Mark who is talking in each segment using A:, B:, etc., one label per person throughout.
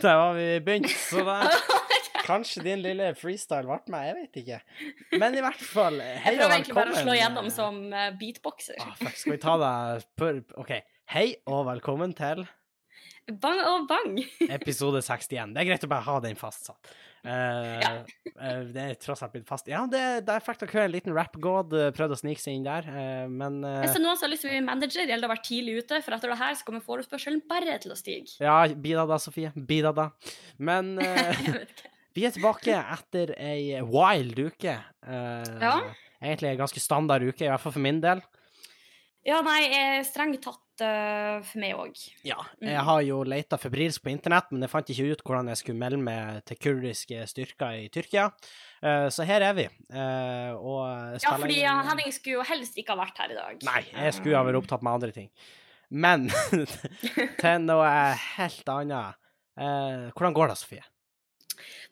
A: Der var vi begynt, så der Kanskje din lille freestyle ble meg, jeg vet ikke. Men i hvert fall, hei
B: Jeg
A: og
B: prøver egentlig bare å
A: velkommen.
B: slå gjennom som eh, beatboxer.
A: Ah, fuck, skal vi ta deg pør... OK. Hei og velkommen til Ah.
B: Bang og bang!
A: Eh. episode 61. Det er greit å bare ha den fastsatt. Eh, eh, det er tross alt blitt fast. Ja, det, der fikk dere en liten rap-god. eh, Prøvde å snike seg inn der, eh, men eh,
B: Hvis det er noen som har lyst til å bli manager, gjelder det å være tidlig ute, for etter det her så kommer forespørselen bare til å stige.
A: Ja, bidra da, Sofie. Bidra da. Men eh,
B: Jeg vet ikke.
A: Vi er tilbake etter ei wild uke. Eh,
B: Ja.
A: Egentlig ei ganske standard uke, i hvert fall for min del.
B: Ja, nei, eh, strengt tatt eh, for meg òg.
A: Ja.
B: Mm.
A: Jeg har jo leita febrilsk på internett, men jeg fant ikke ut hvordan jeg skulle melde meg til kurdiske styrker i Tyrkia. Eh, så her er vi. Eh, og jeg
B: Ja,
A: spiller
B: fordi
A: inn-
B: ja, Henning skulle jo helst ikke ha vært her i dag.
A: Nei, jeg skulle ha vært opptatt med andre ting. Men til noe helt annet. Eh, hvordan går det, Sofie?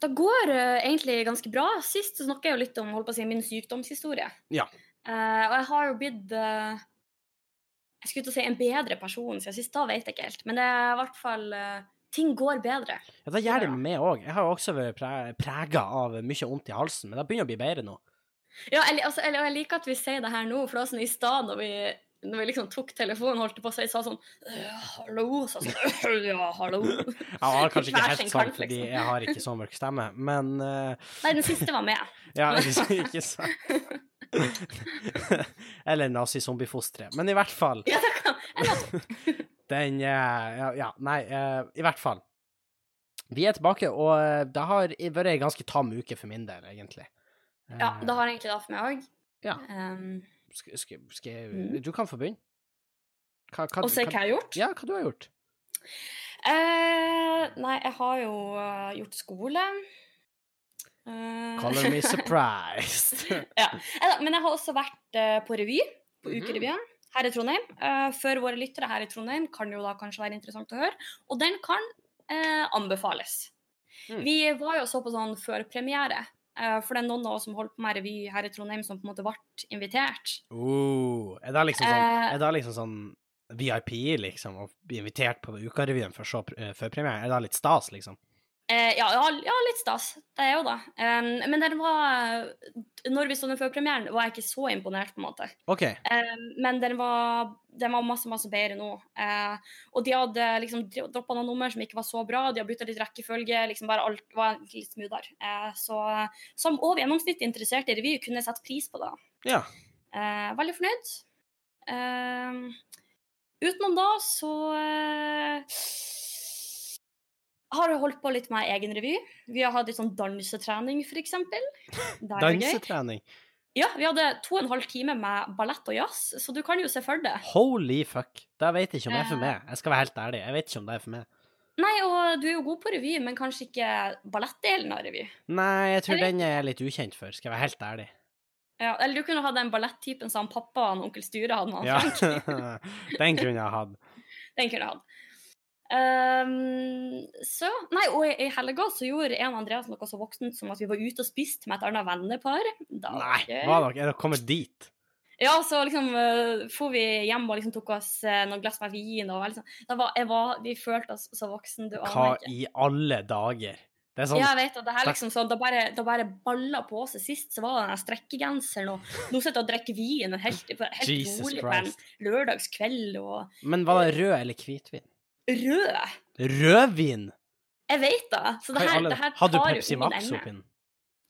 B: Det går eh, egentlig ganske bra. Sist så snakket jeg jo litt om holdt på å si, min sykdomshistorie.
A: Ja.
B: Eh, og jeg har jo blitt eh, Jeg skulle til å si en bedre person siden sist, da vet jeg ikke helt. Men det er i hvert fall eh, Ting går bedre.
A: Ja, det gjør det
B: bra.
A: med meg òg. Jeg har jo også vært prega av mye vondt i halsen, men det begynner å bli bedre nå.
B: Ja, jeg, li- altså, jeg, og jeg liker at vi sier det her nå, for det var sånn i stad når vi når vi liksom tok telefonen, holdt det på å si, sa sånn «Øh, Hallo, sa sånn «Øh, Ja, hallo. Nei,
A: Ja, det var kanskje ikke
B: Hver
A: helt
B: sin
A: sant,
B: kant,
A: fordi
B: liksom.
A: jeg har ikke så mørk stemme, men eh,
B: den siste var med.
A: Ja, ikke, ikke sant. Eller nazi-zombiefostre. Men i hvert fall
B: Ja, det kan, eller,
A: Den eh, Ja, ja nei, eh, i hvert fall. Vi er tilbake, og eh, det har vært ei ganske tam uke for min del, egentlig. Eh,
B: ja, det har egentlig det for meg òg.
A: Ja.
B: Um,
A: Skal, skal, skal jeg
B: Mm.
A: Du kan få begynne. Hva, hva,
B: og se hva jeg har gjort.
A: Ja, hva du har gjort?
B: Eh, nei, jeg har jo eh, gjort skole. Eh,
A: Color me surprised.
B: ja. Eh, da, Men jeg har også vært eh, på revy, på
A: Mhm.
B: Ukerevyen her i Trondheim. Eh, for våre lyttere her i Trondheim kan jo da kanskje være interessant å høre. Og den kan eh, anbefales.
A: Mm.
B: Vi var jo så på sånn førpremiere. eh, for det er noen av oss som holdt på med revy her i Trondheim, som på en måte ble invitert.
A: Oh, er det liksom sånn,
B: Eh.
A: er det liksom sånn VIP, liksom, å bli invitert på Ukarevyen for å se pr- eh, førpremieren? Er det litt stas, liksom?
B: Eh, ja, ja, ja, litt stas. Det er jo det. Eh, men den var eh, Når vi så den førpremieren, var jeg ikke så imponert, på en måte.
A: OK.
B: Um, men den var, den var masse, masse bedre nå. Eh, og de hadde liksom droppa noen nummer som ikke var så bra, de har bytta litt rekkefølge. liksom bare Alt var litt smoothere. Eh, så som over gjennomsnittet interessert i revy kunne jeg sette pris på det.
A: Ja.
B: Eh, veldig fornøyd. Eh, utenom da så eh, har jeg holdt på litt med egen revy. Vi har hatt litt sånn dansetrening, f.eks.
A: Dansetrening.
B: Ja, vi hadde to og en halv time med ballett og jazz, så du kan jo se for deg.
A: Holy fuck. Det vet jeg ikke om det er for
B: Eh.
A: meg. Jeg skal være helt ærlig. Jeg vet ikke om det er for meg.
B: Nei, og du er jo god på revy, men kanskje ikke ballettdelen av revy.
A: Nei, jeg tror
B: Eller-
A: den er jeg litt ukjent for, skal jeg være helt ærlig.
B: Ja, eller du kunne hatt den ballettypen som pappa og onkel Sture hadde. når han
A: Ja.
B: Frank.
A: Den kunne jeg hatt.
B: Den kunne jeg hatt. Ehm, så Nei, og i i helga så gjorde jeg og Andreas noe så voksent som at vi var ute og spiste med et annet vennepar. Da var
A: Nei,
B: det gøy.
A: hva dere? Er dere kommet dit?
B: Ja, så liksom uh, for vi hjem og liksom tok oss eh, noen glass med vin og liksom. Da var, jeg var, Vi følte oss så voksen, du
A: Hva
B: aner ikke.
A: i alle dager? Det er sånn
B: Ja, jeg vet at det her
A: Takk.
B: liksom sånn, da bare, da bare balla på seg sist, så var det den strekkegenseren, og nå sitter jeg og drikker vin og helt, helt
A: Jesus
B: rolig på en
A: Christ.
B: lørdagskveld, og
A: Men var det rød eller hvitvin?
B: rød.
A: Rødvin!
B: Jeg vet da, så
A: Hva
B: det
A: i
B: her,
A: alle-
B: det her tar
A: Hadde du
B: jo
A: Pepsi
B: ingen
A: Max
B: ende.
A: oppi den?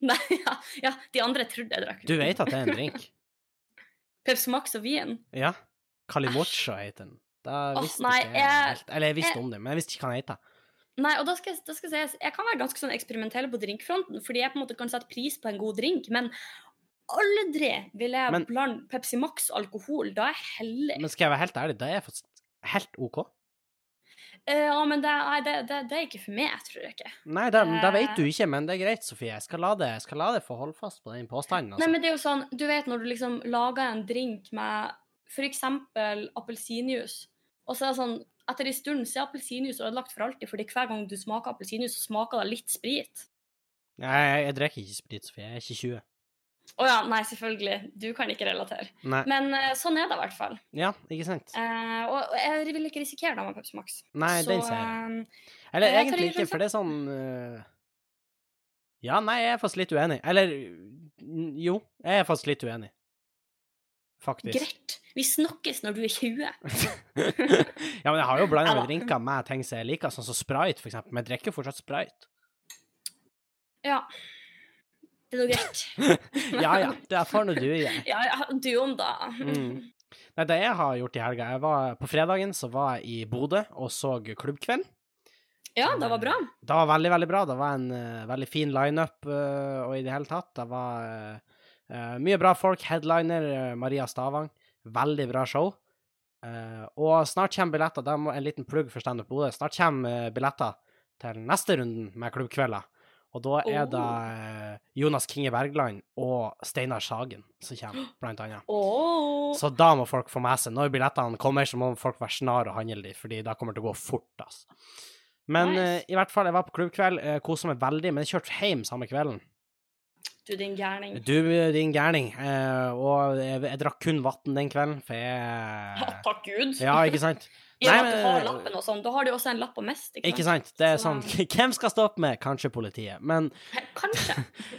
B: Nei, ja, ja, de andre trodde jeg drakk
A: Du vet at det er en drink?
B: Pepsi Max og vin.
A: Ja. Kalimocha heter den. Da
B: Åh,
A: visste
B: nei,
A: ikke jeg
B: jeg-
A: helt Eller jeg visste
B: jeg-
A: om det, men jeg visste ikke hva den heter.
B: Nei, og da skal, jeg- da skal jeg si, jeg kan være ganske sånn eksperimentell på drinkfronten, fordi jeg på en måte kan sette pris på en god drink, men aldri vil jeg
A: Men-
B: blande Pepsi Max og alkohol, da er jeg hellig.
A: Men skal jeg være helt ærlig, det er faktisk helt OK.
B: Eh, ja, men det, nei, det, det, det er ikke for meg, tror jeg ikke.
A: Nei, det, det
B: Eh.
A: vet du ikke, men det er greit, Sofie. Jeg skal la det, jeg skal la det få holde fast på den påstanden.
B: Nei,
A: Altså.
B: men det er jo sånn, du vet når du liksom lager en drink med for eksempel appelsinjuice, og så er det sånn, etter en stund så er appelsinjuice ødelagt for alltid, fordi hver gang du smaker appelsinjuice, så smaker det litt sprit.
A: Nei, jeg, jeg drikker ikke sprit, Sofie. Jeg er ikke 20.
B: Å ja, nei, selvfølgelig. Du kan ikke relatere.
A: Nei.
B: Men eh, sånn er det i hvert fall.
A: Ja, ikke sant?
B: Eh, og og jeg vil ikke risikere det med Pepsi Max.
A: Nei, den ser jeg.
B: jeg.
A: Eller
B: Eh, jeg tar
A: egentlig
B: litt
A: ikke,
B: rundt
A: for det er sånn eh, Ja, nei, jeg er faktisk litt uenig. Eller mm, jo, jeg er faktisk litt uenig. Faktisk.
B: Greit. Vi snakkes når du er 20.
A: ja, men jeg har jo blanda
B: Eller-
A: med drinker med ting som jeg liker, sånn som Sprite, for eksempel. Men jeg drikker jo fortsatt Sprite.
B: Ja. Det er nå greit.
A: Ja ja, det får nå du gjøre.
B: Ja, ja, du om da.
A: Mm. Nei, det jeg har gjort i helga jeg var, På fredagen så var jeg i Bodø og så klubbkveld.
B: Ja, det var bra.
A: Det var veldig, veldig bra. Det var en eh, veldig fin lineup uh, og i det hele tatt. Det var eh, eh, mye bra folk. Headliner eh, Maria Stavang. Veldig bra show. Eh, og snart kommer billetter. Da må en liten plugg for Standup Bodø. Snart kommer eh, billetter til neste runden med klubbkvelder. Og da er det eh, Jonas Kinge Bergland og Steinar Sagen som kommer, blant annet.
B: Åh.
A: Så da må folk få med seg. Når billettene kommer, så må folk være snar og handle de, fordi da kommer det til å gå fort, altså. Men
B: Nice.
A: eh, i hvert fall, jeg var på klubbkveld, uh, kosa meg veldig, men jeg kjørte hjem samme kvelden.
B: Du, din gærning.
A: Du, din gærning. eh, og jeg, jeg drakk kun vann den kvelden, for
B: Ja,
A: jeg
B: takk Gud.
A: Ja, ikke sant?
B: I og med
A: nei,
B: at du har
A: men-
B: lappen og sånn, da har du også en lapp å miste.
A: Ikke
B: Ikke sant?
A: sant? Det er sånn
B: Så-
A: Hvem skal stoppe meg? Kanskje politiet. Men
B: Kanskje.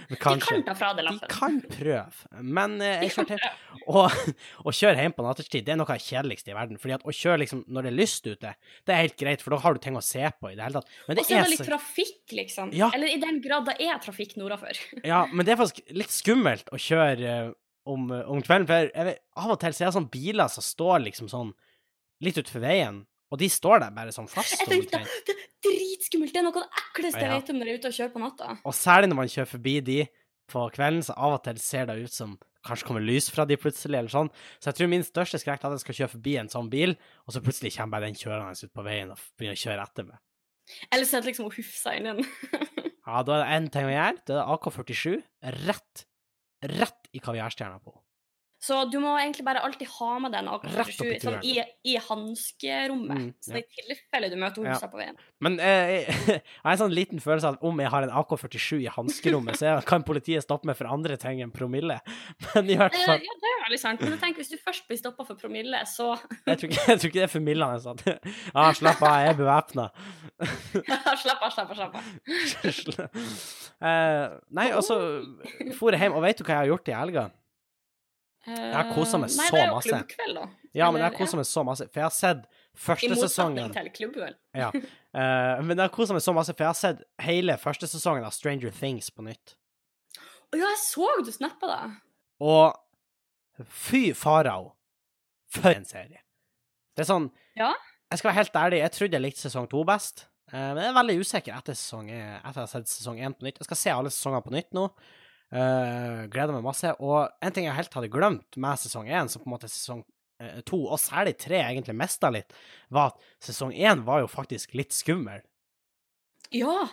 B: De
A: kanskje.
B: kan ta fra
A: De
B: deg lappen.
A: kan prøve, men eh, jeg kjørte hjem. Og, å kjøre hjem på nattetid det er noe av det kjedeligste i verden. fordi at å kjøre liksom når det er lyst ute, det er helt greit, for da har du ting å se på i det hele tatt. Men
B: Og
A: det,
B: så er
A: er,
B: det litt
A: så,
B: trafikk, liksom.
A: Ja.
B: Eller i den grad det er trafikk nordafor.
A: ja, men det er faktisk litt skummelt å kjøre eh, om, om kvelden, for jeg, vet- av og til ser jeg sånne sånn biler som står liksom sånn litt utenfor veien, og de står der bare sånn fast.
B: Jeg tenkte,
A: omtrent.
B: det er dritskummelt! Det er noe av det ekleste jeg
A: Ja.
B: vet om når jeg er ute og kjører på natta.
A: Og særlig når man kjører forbi de på kvelden, så av og til ser det ut som kanskje kommer lys fra de plutselig, eller sånn. Så jeg tror min største skrekk er at jeg skal kjøre forbi en sånn bil, og så plutselig kommer bare den kjørende ut på veien og begynner å kjøre etter meg.
B: Eller så er det liksom å hufse inn den.
A: Ja, da er det én ting å gjøre. Det er AK-47 rett, rett i kaviarstjerna på.
B: Så du må egentlig bare alltid ha med
A: Rett
B: den
A: opp i
B: AK-47 sånn, i, i hanskerommet.
A: Mm,
B: Så det er i tilfelle du møter
A: Ja.
B: homser på veien.
A: Men eh, jeg har en sånn liten følelse av at om jeg har en AK-47 i hanskerommet, så jeg- kan politiet stoppe meg for andre ting enn promille. Men i hvert
B: Eh,
A: fall
B: ja, det er veldig sant. Men jeg tenker, hvis du først blir stoppa for promille, så
A: Jeg tror ikke, jeg tror ikke det er formildende. sånn. Ja, slapp av, jeg er bevæpna.
B: Slapp av, slapp av, slapp av.
A: Sle- Eh, nei, altså For jeg hjem, og vet du hva jeg har gjort i helga?
B: Jeg
A: har koset meg så
B: Eh, Nei, det er jo
A: masse.
B: klubbkveld, da.
A: Ja, men jeg har
B: Eller,
A: kosa meg så masse, for jeg har sett
B: I
A: første
B: motsetning
A: sesongen
B: til klubbøl.
A: Eh, Men jeg har koset meg så masse, for jeg har sett hele første sesongen av Stranger Things på nytt.
B: Å ja, jeg så du snappa det.
A: Og fy farao, for en serie! Det er sånn
B: Ja.
A: Jeg skal være helt ærlig, jeg trodde jeg likte sesong to best, eh, men jeg er veldig usikker etter, sesong, etter jeg har sett sesong én på nytt. Jeg skal se alle sesongene på nytt nå. Eh, gleder meg masse. Og en ting jeg helt hadde glemt med sesong én, som på en måte sesong eh, to, og særlig tre, egentlig mista litt, var at sesong én var jo faktisk litt skummel.
B: Ja,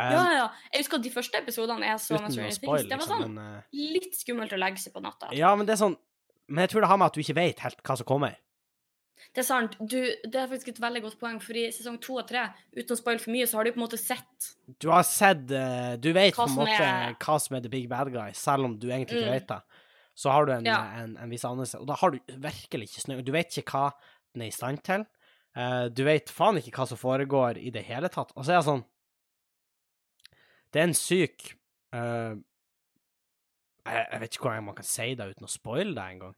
A: Eh,
B: ja, ja. Jeg husker at de første episodene jeg så med
A: uten å
B: Stranger
A: spoile,
B: Things, det var
A: liksom.
B: sånn
A: Men, eh,
B: litt skummelt å legge seg på natta.
A: ja, men det er sånn Men jeg tror det har med at du ikke vet helt hva som kommer.
B: Det er sant. Du, det er faktisk et veldig godt poeng, for i sesong to og tre, uten å spoile for mye, så har du på en måte sett
A: Du har sett eh, Du vet på
B: Hva
A: en
B: som
A: måte
B: er-
A: hva som er the big bad guy, selv om du egentlig ikke
B: Mm.
A: vet det. Så har du en,
B: Ja.
A: en, en viss anelse, og da har du virkelig ikke snø. Du vet ikke hva den er i stand til. Eh, du vet faen ikke hva som foregår i det hele tatt. Og så er det sånn Det er en syk eh, jeg, jeg vet ikke hvordan man kan si det uten å spoile det engang.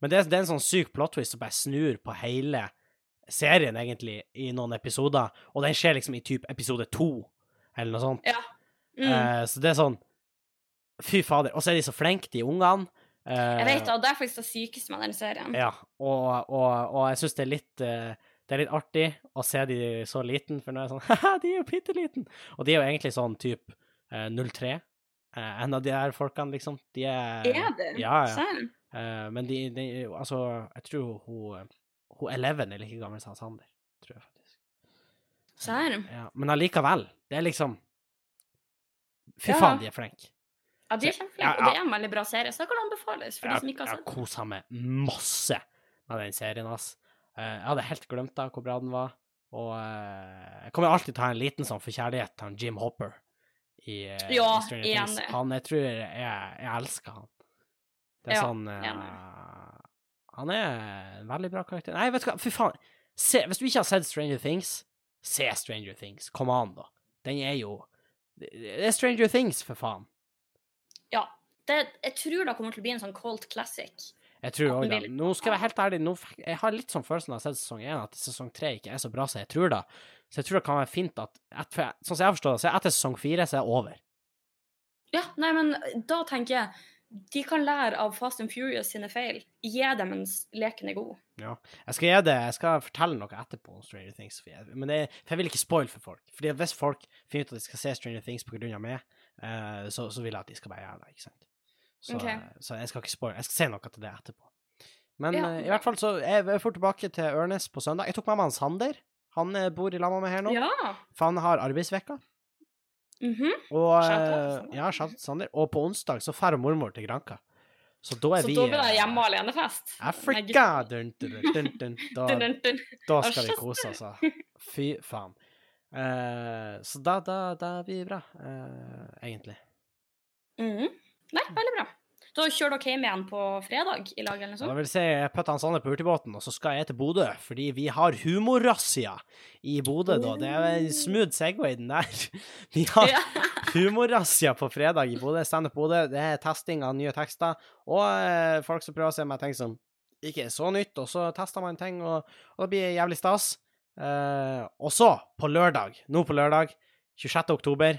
A: Men det, er- det er en sånn syk plot twist som bare snur på hele serien, egentlig, i noen episoder. Og den skjer liksom i typ episode to, eller noe sånt.
B: mm.
A: Eh, så det er sånn Fy fader. Og så er de så flinke, de ungene. Eh,
B: Jeg vet det, og det er faktisk det sykeste med den serien.
A: Ja, og, og, og jeg syns det er litt eh, det er litt artig å se de så liten, for nå er jeg sånn Haha, de er jo bitte liten! Og de er jo egentlig sånn type 03. eh, en av de her folkene, liksom. De er
B: Er det?
A: Ja, ja.
B: Serr?
A: Eh, men de, de Altså, jeg tror hun Hun Eleven er like gammel som han Sander, tror jeg faktisk.
B: Serr?
A: Ja, men allikevel. Det er liksom Fy
B: Ja.
A: faen, de er flinke.
B: Ja, de er
A: Ja,
B: kjempeflinke,
A: ja.
B: og det er en veldig bra serie, så det kan anbefales for de som
A: Jeg,
B: ikke har
A: jeg
B: sett den.
A: kosa meg masse med den serien, ass. Eh, Jeg hadde helt glemt da hvor bra den var. Og eh, jeg kommer alltid til å ha en liten sånn forkjærlighet til han Jim Hopper i, eh,
B: Ja,
A: i Stranger Things.
B: enig.
A: Han, jeg tror jeg, jeg elsker han. Det er
B: Ja,
A: sånn eh,
B: enig.
A: Han er en veldig bra karakter. Nei, vet du hva, fy faen. Se, hvis du ikke har sett Stranger Things, se Stranger Things. Kom an, da. Den er jo Det det er Stranger Things, for faen.
B: Ja. Det, jeg tror det kommer til å bli en sånn cold classic.
A: Jeg tror
B: Ja,
A: òg
B: den
A: det.
B: vil-
A: Nå skal jeg være helt ærlig, nå, fikk- jeg har litt sånn følelsen av å ha sett sesong én, at sesong tre ikke er så bra som jeg tror da. Så jeg tror det kan være fint at et, for jeg, Sånn som jeg forstår det, så er etter sesong fire så er det over.
B: Ja, nei, men eh, da tenker jeg de kan lære av Fast and Furious sine feil. Gi dem mens leken er god.
A: Jeg skal gi det, jeg skal fortelle noe etterpå om Stranger Things, for jeg, men det, for jeg vil ikke spoil for folk. Fordi at hvis folk finner ut at de skal se Stranger Things på grunn av meg, eh, så, så vil jeg at de skal bare gjøre det, ikke sant. Så,
B: Ok.
A: eh, så jeg skal ikke spoil, jeg skal si noe til det etterpå. Men
B: Ja,
A: eh, i
B: bra.
A: hvert fall så, jeg, jeg får tilbake til Ørnes på søndag. Jeg tok med meg han Sander, han eh, bor i Lamma med her nå,
B: Ja.
A: for han har arbeidsvekka.
B: Mhm.
A: Og,
B: Shout out til
A: eh,
B: Sander.
A: ja, shout out til Sander. Og på onsdag så drar mormor til Granka. Så da er
B: Så
A: vi
B: da blir det
A: eh,
B: hjemme alene-fest. Nei,
A: Africa!
B: gutt.
A: Dun, dun, dun, dun, dun. Da,
B: Dun, dun, dun.
A: da
B: Asj,
A: skal vi
B: ass.
A: kose oss, altså. Fy faen. Eh, så da, da, da blir det bra, eh, egentlig.
B: Mhm. Nei, veldig bra. Da kjører dere hjem igjen på fredag i lag eller noe
A: Og Da
B: sånt?
A: vil jeg si jeg putter han Sander på hurtigbåten, og så skal jeg til Bodø, fordi vi har humorrazzia i Bodø, da. Det er en smooth segway, den der. Vi har
B: Oh. Ja.
A: humorrazzia på fredag i Bodø. Standup Bodø. Det er testing av nye tekster, og eh, folk som prøver å se meg ting som ikke er så nytt, og så tester man ting, og, og det blir jævlig stas. Eh, og så, på lørdag, nå på lørdag, 26. oktober,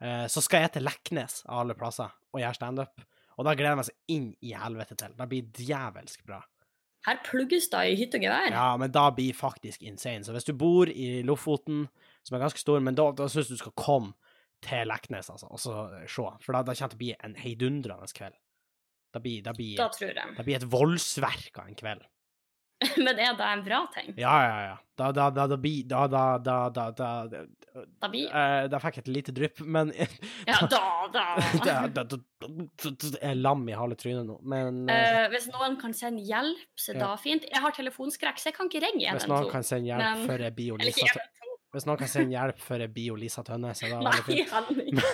A: eh, så skal jeg til Leknes, av alle plasser, og gjøre standup. Og da gleder jeg meg så inn i helvete til. Det blir djevelsk bra.
B: Her plugges det i hytt og gevær.
A: Ja, men da blir faktisk insane. Så hvis du bor i Lofoten, som er ganske stor, men da, da syns du skal komme til Leknes, altså, og så eh, se. For da, da kommer det til å bli en heidundrende kveld. Da blir, da blir,
B: Da tror jeg.
A: da blir et voldsverk av en kveld.
B: Men er det en bra ting?
A: Ja, ja, ja. Da, da, da, da blir Da, da, da, da, da, da,
B: Da blir
A: eh, da fikk jeg et lite drypp, men
B: Ja, da, da.
A: da, da, da, da, Jeg er lam i halve trynet nå, men eh,
B: Eh, hvis noen kan sende hjelp, så
A: Ja.
B: da fint. Jeg har telefonskrekk, så jeg kan ikke ringe
A: hvis
B: 112.
A: noen kan sende hjelp
B: Men-
A: før jeg blir jo
B: Eller
A: Lisa
B: ikke
A: Tø- Hvis noen kan sende hjelp før jeg blir jo Lisa Tønne, så er det veldig fint.
B: Nei, Henning.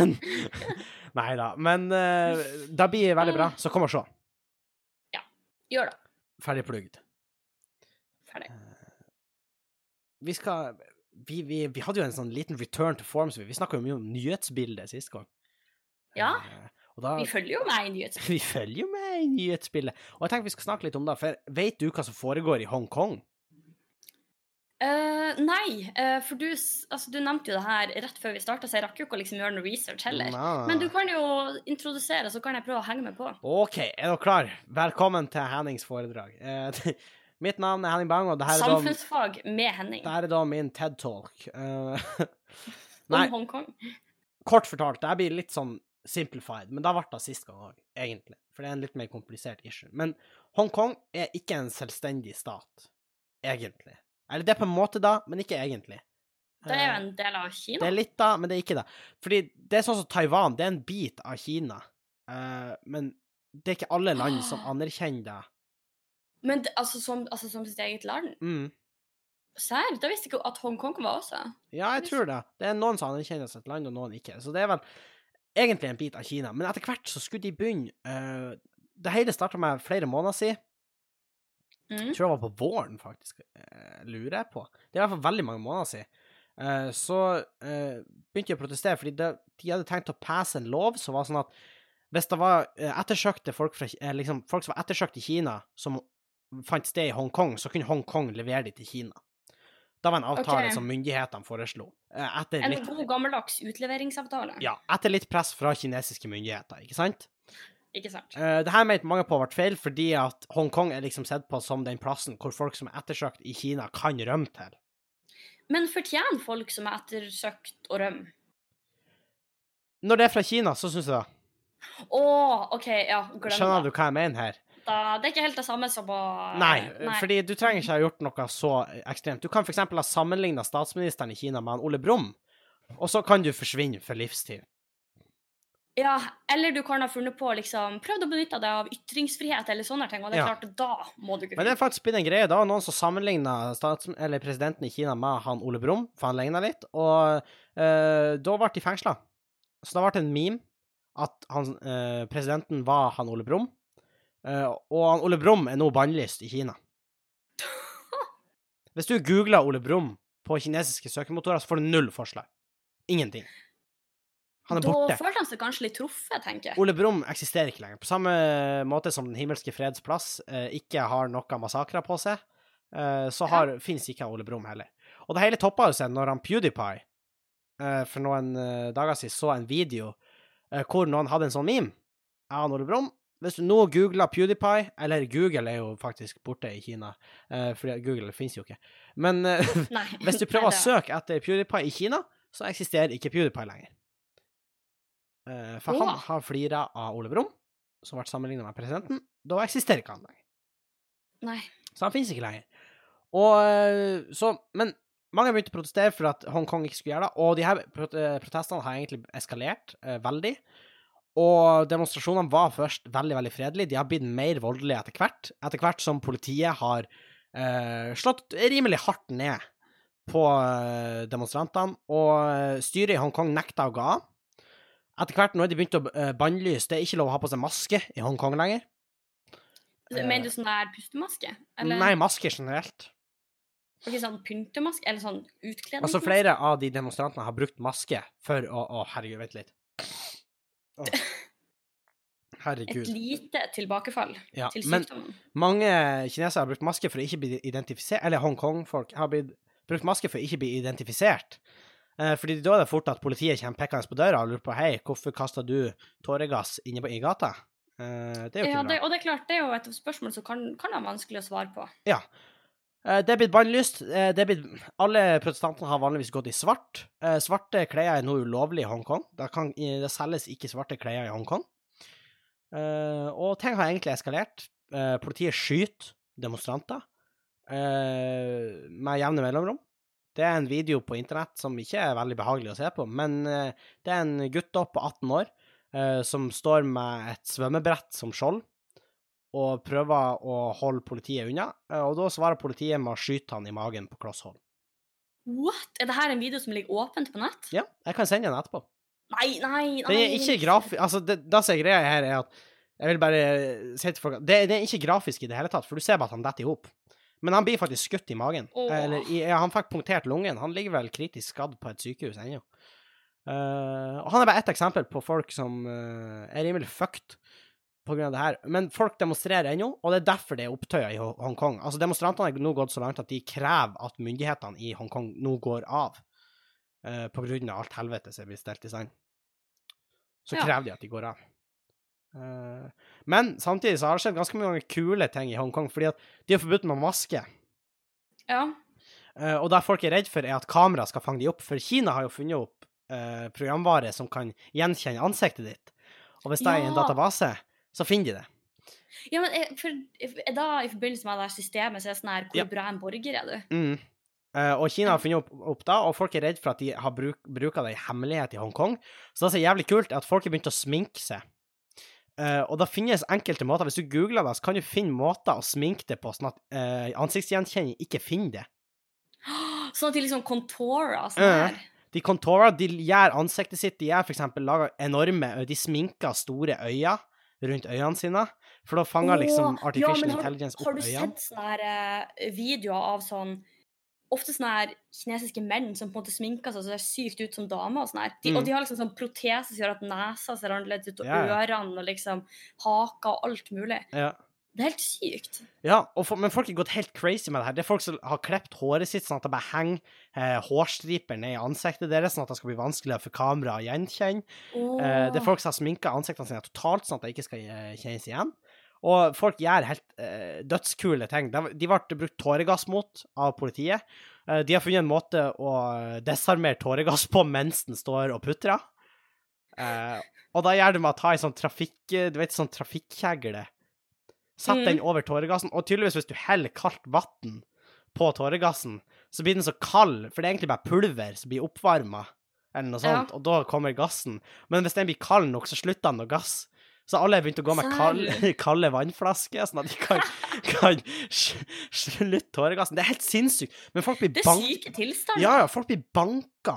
A: Men Nei da. Men uh, det blir veldig bra. Så kom og se.
B: Gjør det.
A: Ferdig plugd.
B: Ferdig.
A: Vi skal vi, vi, vi hadde jo en sånn liten return to form. så Vi, vi snakka jo mye om nyhetsbildet sist gang.
B: Ja.
A: Eh, og da
B: Vi følger jo meg i nyhetsbildet.
A: Vi følger jo med i nyhetsbildet. Og jeg tenker vi skal snakke litt om det, for vet du hva som foregår i Hongkong?
B: Eh, nei, eh, for du, s- altså, du nevnte jo det her rett før vi starta, så jeg rakk jo ikke å liksom gjøre noe research heller.
A: Nei.
B: Men du kan jo introdusere, så kan jeg prøve å henge med på.
A: OK, er dere klar? Velkommen til Hennings foredrag. Eh, mitt navn er Henning Bang, og det her er da,
B: Samfunnsfag med Henning
A: det her er da min TED Talk. Eh, nei.
B: om Hongkong.
A: kort fortalt, det her blir litt sånn simplified, men da ble det sist gang òg, egentlig. For det er en litt mer komplisert issue. Men Hongkong er ikke en selvstendig stat, egentlig. Eller det er på en måte da, men ikke egentlig.
B: Det er jo
A: Eh,
B: en del av
A: det
B: Kina.
A: er litt da, men det er ikke det. Fordi det er sånn som Taiwan, det er en bit av Kina. Eh, men det er ikke alle land som
B: Ah.
A: anerkjenner det.
B: Men det, altså, som, altså som sitt eget land?
A: Mm.
B: Serr? Da visste jeg ikke at Hongkong var også.
A: Ja, jeg
B: Hvis-
A: tror det. Det er noen som anerkjenner sitt land, og noen ikke. Så det er vel egentlig en bit av Kina. Men etter hvert så skulle de begynne eh, Det hele starta med flere måneder siden.
B: Mm.
A: Jeg tror det var på våren, faktisk. eh, lurer jeg på. Det er i hvert fall veldig mange måneder siden. Eh, så eh, begynte de å protestere, fordi det, de hadde tenkt å passe en lov som var sånn at hvis det var eh, ettersøkte folk, fra, Ki- eh, liksom, folk som var ettersøkt i Kina, som fant sted i Hongkong, så kunne Hongkong levere de til Kina. Da var en avtale
B: Ok.
A: som myndighetene foreslo. eh, etter
B: En
A: litt
B: god gammeldags utleveringsavtale.
A: ja, etter litt press fra kinesiske myndigheter, ikke sant?
B: Ikke sant?
A: Eh, det her mente mange på ble feil, fordi at Hongkong er liksom sett på som den plassen hvor folk som er ettersøkt i Kina, kan rømme til.
B: Men fortjener folk som er ettersøkt å rømme?
A: Når det er fra Kina, så syns jeg det.
B: Å, OK, ja, glem
A: Skjønner
B: det.
A: du hva jeg mener her?
B: Da, det er ikke helt det samme som å
A: Nei, fordi du trenger ikke ha gjort noe så ekstremt. Du kan f.eks. ha sammenligna statsministeren i Kina med han Ole Brumm, og så kan du forsvinne for livstid.
B: Ja, eller du kan ha funnet på liksom Prøvd å benytte deg av ytringsfrihet eller sånne ting, og det er
A: Ja.
B: klart, da må du ikke
A: Men det er faktisk blitt en greie. Det var noen som sammenligna presidenten i Kina med han Ole Brumm, for han ligna litt, og eh, da ble de fengsla. Så da ble det en meme at han, eh, presidenten var han Ole Brumm, Eh, og han Ole Brumm er nå bannlyst i Kina. Hvis du googler Ole Brumm på kinesiske søkemotorer, så får du null forslag. Ingenting. Han er
B: da
A: borte.
B: følte han seg kanskje litt truffet, tenker jeg.
A: Ole Brumm eksisterer ikke lenger. På samme måte som Den himmelske freds plass eh, ikke har noe massakrer på seg, eh, så har, finnes ikke Ole Brumm heller. Og det hele toppa jo seg når han PewDiePie eh, for noen eh, dager siden så en video eh, hvor noen hadde en sånn meme av han Ole Brumm. Hvis du nå googler PewDiePie, eller Google er jo faktisk borte i Kina, eh, fordi at Google finnes jo ikke, men eh,
B: Nei.
A: hvis du prøver å søke etter PewDiePie i Kina, så eksisterer ikke PewDiePie lenger. Eh, for
B: Åh.
A: han har flira av Ole Brumm, som ble sammenligna med presidenten. Da eksisterer ikke han lenger.
B: Nei.
A: Så han finnes ikke lenger. Og eh, så Men mange begynte å protestere for at Hongkong ikke skulle gjøre det, og de her prot- eh, protestene har egentlig eskalert eh, veldig. Og demonstrasjonene var først veldig, veldig fredelige. De har blitt mer voldelige etter hvert, etter hvert som politiet har eh, slått rimelig hardt ned på eh, demonstrantene, og eh, styret i Hongkong nekta å gå av. Etter hvert nå har de begynt å eh, bannlyse. Det er ikke lov å ha på seg maske i Hongkong lenger. Eh,
B: Mener du sånn der pustemaske? Eller
A: Nei, masker generelt.
B: Ok, sånn pyntemaske? Eller sånn utkledning?
A: Altså, flere av de demonstrantene har brukt maske for å Å, herregud, vent litt. Å.
B: Et
A: Herregud.
B: lite tilbakefall
A: Ja.
B: til
A: Men
B: sykdommen.
A: mange kinesere har brukt maske for å ikke bli identifisert Eller Hongkong-folk har blitt, brukt maske for å ikke bli identifisert. Eh, fordi da er det fort at politiet kommer pekkende på døra og lurer på Hei, hvorfor kasta du tåregass inne på, i gata? Eh, det er jo ikke
B: Ja,
A: bra.
B: det, og det er klart, det er jo et spørsmål som kan, kan være vanskelig å svare på.
A: Eh, Det er blitt bannlyst. Eh, Det er blitt... Alle protestantene har vanligvis gått i svart. Eh, Svarte klær er nå ulovlig i Hongkong. Det, kan... det selges ikke svarte klær i Hongkong. Eh, Og ting har egentlig eskalert. Eh, Politiet skyter demonstranter eh, med jevne mellomrom. Det er en video på internett som ikke er veldig behagelig å se på, men eh, det er en gutt da på 18 år eh, som står med et svømmebrett som skjold og prøver å holde politiet unna, eh, og da svarer politiet med å skyte han i magen på kloss hold.
B: What? Er det her en video som ligger åpent på nett?
A: Ja, jeg kan sende den etterpå.
B: Nei, nei, nei.
A: Den er ikke grafisk Altså, det, det som er greia her, er at Jeg vil bare si til folk at det, det er ikke grafisk i det hele tatt, for du ser bare at han detter i hop. Men han blir faktisk skutt i magen.
B: Åh.
A: Eller i, ja, han fikk punktert lungen. Han ligger vel kritisk skadd på et sykehus ennå. Eh, og han er bare ett eksempel på folk som eh, er rimelig fucked på grunn av det her. Men folk demonstrerer ennå, og det er derfor det er opptøyer i Ho- Hongkong. Altså, demonstrantene har nå gått så langt at de krever at myndighetene i Hongkong nå går av, eh, på grunn av alt helvete som er blitt stelt i stand. Så
B: Ja.
A: krever de at de går av. Eh, men samtidig så har det skjedd ganske mange kule ting i Hongkong, fordi at de er forbudt med maske.
B: Ja.
A: Eh, og det folk er redd for, er at kamera skal fange de opp, for Kina har jo funnet opp eh, programvare som kan gjenkjenne ansiktet ditt. Og hvis det er i en
B: Ja.
A: database, så finner de det.
B: ja, men er, for, er da i forbindelse med det her systemet, så er det sånn her,
A: Ja.
B: hvor bra en borger er du?
A: Mm. Eh, og Kina har funnet opp, opp da, og folk er redd for at de har bruk, bruka det i hemmelighet i Hongkong. Så det som er jævlig kult, er at folk har begynt å sminke seg. Eh, og det finnes enkelte måter. Hvis du googler det, så kan du finne måter å sminke det på, sånn at eh, ansiktsgjenkjenning ikke finner det.
B: Sånn at de liksom contourer sånn
A: Ja.
B: her.
A: De Contora de gjør ansiktet sitt De er for eksempel laget enorme De sminker store øyne rundt øynene sine, for da fanger liksom
B: Åh,
A: artificial
B: men har-
A: intelligence
B: Har
A: opp
B: du
A: øynene.
B: sett sånne her eh, videoer av sånn Ofte sånne her kinesiske menn som på en måte sminker seg så ser sykt ut som damer. Og sånne her. De,
A: Mm.
B: Og de har liksom sånn protese som gjør at nesa ser annerledes ut, og
A: Ja, ja.
B: ørene og liksom haka og alt mulig.
A: Ja.
B: Det er helt sykt.
A: Ja, og for, men folk har gått helt crazy med det her. Det er folk som har klept håret sitt sånn at det bare henger eh, hårstriper ned i ansiktet deres, sånn at det skal bli vanskeligere for kameraet å gjenkjenne. Eh, det er folk som har sminka ansiktene sine totalt, sånn at det ikke skal eh, kjennes igjen. Og folk gjør helt eh, dødskule ting. De, de ble brukt tåregass mot av politiet. Eh, de har funnet en måte å desarmere tåregass på mens den står og putrer. Eh, og da gjør de med å ta ei sånn trafikk... Du vet, sånn trafikkjegle. Sett
B: Mm.
A: den over tåregassen, og tydeligvis hvis du heller kaldt vann på tåregassen, så blir den så kald, for det er egentlig bare pulver som blir oppvarma, eller noe
B: Ja.
A: sånt, og da kommer gassen. Men hvis den blir kald nok, så slutter den å gasse. Så alle har begynt å gå med kalde,
B: Serr?
A: kalde vannflasker, sånn at de kan, kan sl- slutte tåregassen. Det er helt sinnssykt. Men folk blir
B: Det er
A: bank...
B: syke tilstander.
A: Ja, ja, folk blir banka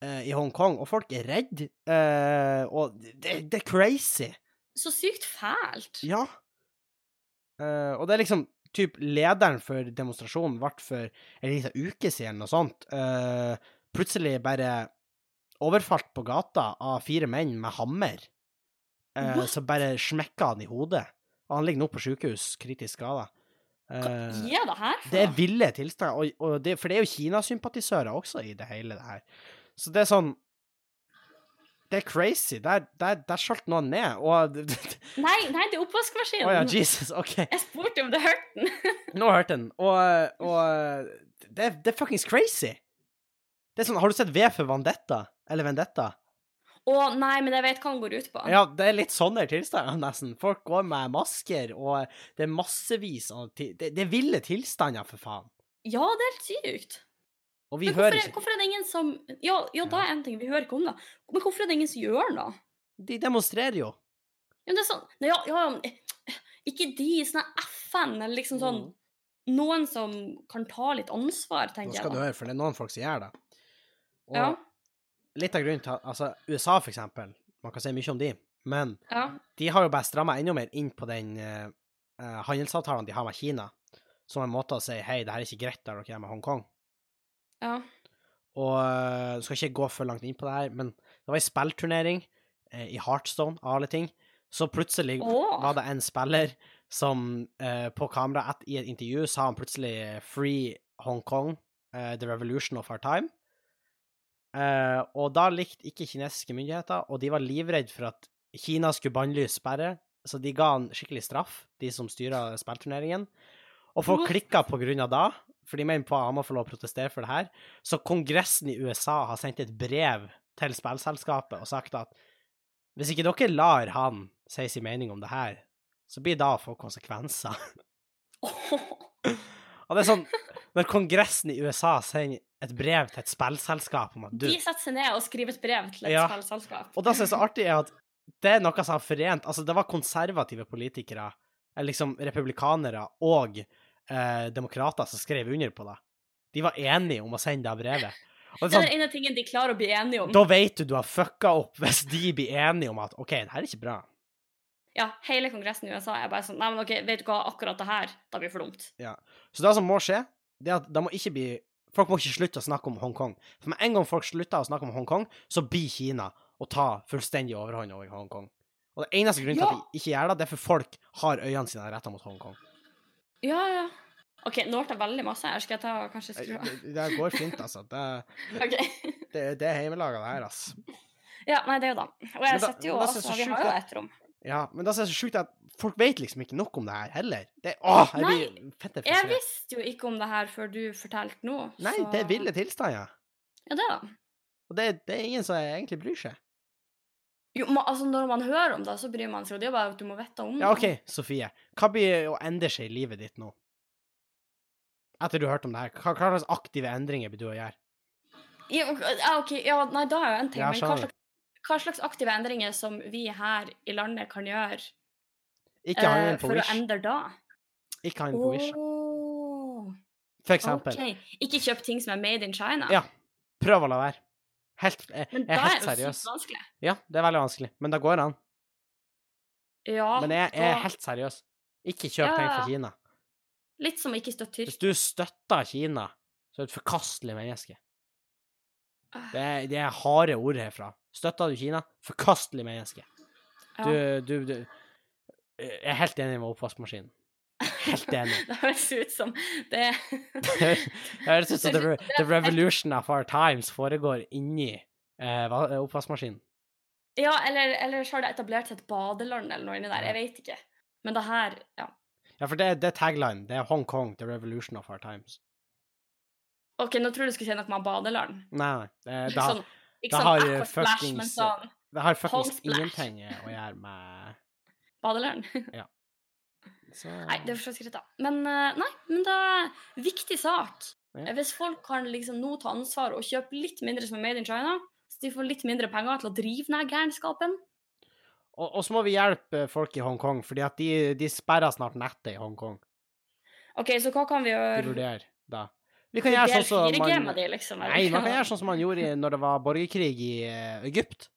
A: eh, i Hongkong, og folk er redde. eh, og det, det er crazy.
B: Så sykt fælt.
A: Ja. Eh, og det er liksom typ lederen for demonstrasjonen ble for en liten uke siden eller noe sånt, eh, plutselig bare overfalt på gata av fire menn med hammer, eh,
B: What?
A: som bare smekka han i hodet. Og han ligger nå på sykehus, kritisk skada. Eh,
B: Gi det her? for
A: det er
B: noe?
A: ville tilstander, og, og det, for det er jo Kina-sympatisører også i det hele det her. Så det er sånn Det er crazy. Der, der, der skjølt noen ned. Og Å
B: Nei, nei, det er oppvaskmaskinen.
A: ja, Jesus, OK.
B: jeg spurte om det hørte den.
A: Nå har jeg hørt den, og, og det, er- det er fuckings crazy. Det er sånn, Har du sett V for Vendetta? Eller Vendetta?
B: Å nei, men jeg vet hva den går ut på.
A: Ja, det er litt sånne tilstander, nesten. Folk går med masker, og det er massevis av ti- Det, det er ville tilstander, for faen.
B: Ja, det er helt sykt.
A: Og vi
B: Men hvorfor,
A: hører
B: er-
A: ikke
B: hvorfor er det ingen som ja, ja, da er en ting vi hører ikke om, da. Men hvorfor er det ingen som gjør det?
A: De demonstrerer jo.
B: Ja, men det er sånn Nei, ja, ja, men, eh, Ikke de, sånn her FN, eller liksom sånn
A: Mhm.
B: Noen som kan ta litt ansvar,
A: Nå
B: tenker jeg.
A: skal du
B: da.
A: høre, for det er noen folk som gjør det. Og
B: Ja,
A: litt av grunnen til at- Altså, USA, for eksempel. Man kan si mye om de, men
B: ja.
A: de har jo bare stramma enda mer inn på den eh, eh, handelsavtalen de har med Kina, som en måte å si hei, det her er ikke greit der dere er med Hongkong.
B: ja.
A: Og eh, skal ikke gå for langt inn på det her, men det var ei spillturnering eh, i Heartstone, av alle ting. Så plutselig
B: Åh.
A: var det en spiller som eh, på kamera et, i et intervju sa han plutselig 'Free Hong Kong, eh, the revolution of our time'. Eh, og da likte ikke kinesiske myndigheter, og de var livredde for at Kina skulle bannlyse sperre, så de ga han skikkelig straff, de som styra spillturneringen. Og folk
B: What?
A: klikka på grunn av da, for de mener på at han må få lov å protestere for det her. Så Kongressen i USA har sendt et brev til spillselskapet og sagt at hvis ikke dere lar han si sin mening om det her, så blir det da å få konsekvenser. Og det er sånn, når Kongressen i USA sender et brev til et spillselskap om at du
B: De setter seg ned og skriver et brev til et
A: Ja.
B: spillselskap.
A: Og det som er så artig, er at det er noe som har forent Altså, det var konservative politikere, eller liksom republikanere og eh, demokrater som skrev under på det. De var enige om å sende det brevet. Og det
B: Det
A: er
B: er
A: sånn,
B: den ene tingen de klarer å bli enige om.
A: da vet du du har fucka opp hvis de blir enige om at OK, det her er ikke bra.
B: Ja, hele Kongressen i USA er bare sånn Nei, men OK, vet du hva, akkurat det her, da blir for dumt.
A: Så det som må skje, det er at det må ikke bli Folk må ikke slutte å snakke om Hongkong. For med en gang folk slutter å snakke om Hongkong, så blir Kina å ta fullstendig overhånd over Hongkong. Og det eneste grunnen til
B: Ja.
A: at de ikke gjør det, det er for folk har øynene sine retta mot Hongkong.
B: Ja, ja. OK, nå ble det veldig masse her. Skal jeg ta kanskje skru av?
A: Det, det går fint, altså. Det,
B: OK.
A: det, det er heimelaga, det her, altså.
B: Ja, nei, det er jo da. Og
A: Men
B: jeg
A: da-
B: setter jo
A: men da synes
B: altså,
A: jeg
B: Vi
A: sjukt
B: har jo
A: at-
B: et rom.
A: Ja, men det som er så sjukt, er at folk vet liksom ikke nok om det her heller. Det, åh, jeg blir fette
B: Jeg
A: frustrert.
B: visste jo ikke om det her før du fortalte nå.
A: Nei,
B: så-
A: det er ville tilstander.
B: Ja, det da.
A: Og det, det er ingen som egentlig bryr seg.
B: Jo, ma, altså, når man hører om det, så bryr man seg. og Det er jo bare at du må vite om det.
A: Ja, OK, Sofie. Hva blir å endre seg i livet ditt nå? Etter du har hørt om det her, hva, hva slags aktive endringer blir du å gjøre?
B: Ja, ja, ok, ja, nei, da er jo en ting.
A: Ja,
B: men hva
A: skjønner.
B: slags, hva slags aktive endringer som vi her i landet kan gjøre
A: Ikke handle
B: eh,
A: på
B: for å
A: Wish.
B: endre da?
A: Ikke handle på Wish.
B: Åh,
A: For eksempel.
B: ok. Ikke kjøp ting som er made in China.
A: Ja, Prøv å la være. Helt, jeg,
B: men
A: jeg
B: da
A: er
B: er
A: helt
B: det jo
A: seriøs.
B: sykt vanskelig.
A: Ja, det er veldig vanskelig, men det går an.
B: Ja,
A: Men jeg, jeg er
B: da-
A: helt seriøs. Ikke kjøp
B: Ja,
A: ting
B: ja,
A: fra
B: ja.
A: Kina.
B: Litt som å ikke støtte
A: Hvis
B: Tyrkia.
A: du støtter Kina, så er du et forkastelig menneske. Det er, det er harde ord herfra. Støtter du Kina, forkastelig menneske.
B: Ja.
A: Du, du, du Jeg er helt enig med oppvaskmaskinen. Helt enig.
B: Det høres ut som det
A: Det høres ut som the, re- the revolution of our times foregår inni eh, va- oppvaskmaskinen.
B: Ja, eller, eller så har det etablert seg et badeland eller noe inni der. Jeg vet ikke. Men det her Ja.
A: Ja, for det, det er tagline. Det er Hong Kong, the revolution of our times.
B: OK, nå tror jeg du skulle si noe om badeland.
A: Nei, nei. Det,
B: Ikke
A: det, har,
B: sånn, ikke
A: da
B: sånn
A: har jo
B: Aquasplash, men
A: fuckings- eh,
B: sånn
A: det har fuckings
B: Hong Splash.
A: ingenting eh, å gjøre med
B: badeland.
A: så,
B: Nei, det er for så skritt, da. Men eh, nei, men det er viktig sak.
A: Ja.
B: Eh, Hvis folk kan liksom nå ta ansvar og kjøpe litt mindre som er made in China, så de får litt mindre penger til å drive den her gærenskapen
A: Og, og så må vi hjelpe folk i Hongkong, fordi at de, de sperrer snart nettet i Hongkong.
B: OK, så hva kan vi
A: De
B: gjøre?
A: vurderer da. Vi kan gjøre sånn som man
B: med de, liksom, eller?
A: Nei, man kan gjøre sånn som man gjorde i- når det var borgerkrig i eh, Egypt.